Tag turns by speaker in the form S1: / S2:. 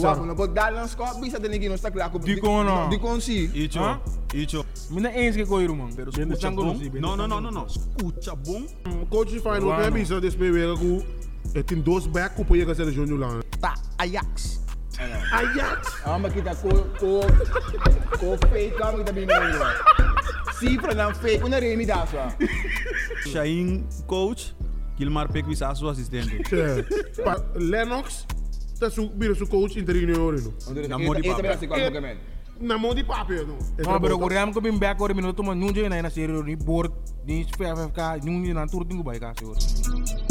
S1: wacht,
S2: bizar.
S1: want op Nederlands kop bisa de nigino stakla ko.
S2: Die kon, ah.
S1: Die kon si.
S3: Icho,
S2: Hã?
S3: Icho.
S2: Mina eens que coi rumang.
S3: Pero
S2: Bende
S3: escucha
S2: sango
S3: bom.
S2: rusi, bende
S3: Não, não,
S2: sango
S3: não, não, não. Escucha bom.
S4: Coach Fijn,
S2: Wano.
S4: wat hebben ze dus bij weer hoe het in doos back op je gezet is Jonjo Lang.
S1: Ta Ajax.
S4: Ajax.
S1: Ama kita ko ko ko fake kan kita bimbing. Si prenam fake una remi daswa.
S3: Shain, coach. Kilmar Pekwi sa sua assistente.
S4: Tja. Pa- Lennox, tá dat is ook weer zo'n coach in de junioren.
S3: Namor
S1: Eerste
S3: di papa.
S1: belas ik kwam dokument.
S4: Na mo di papi no.
S2: Ah, pero ko ram ko bim back or minuto man nunjo na na seri ni board ni 55k nunjo na tur tingu bai ka sir.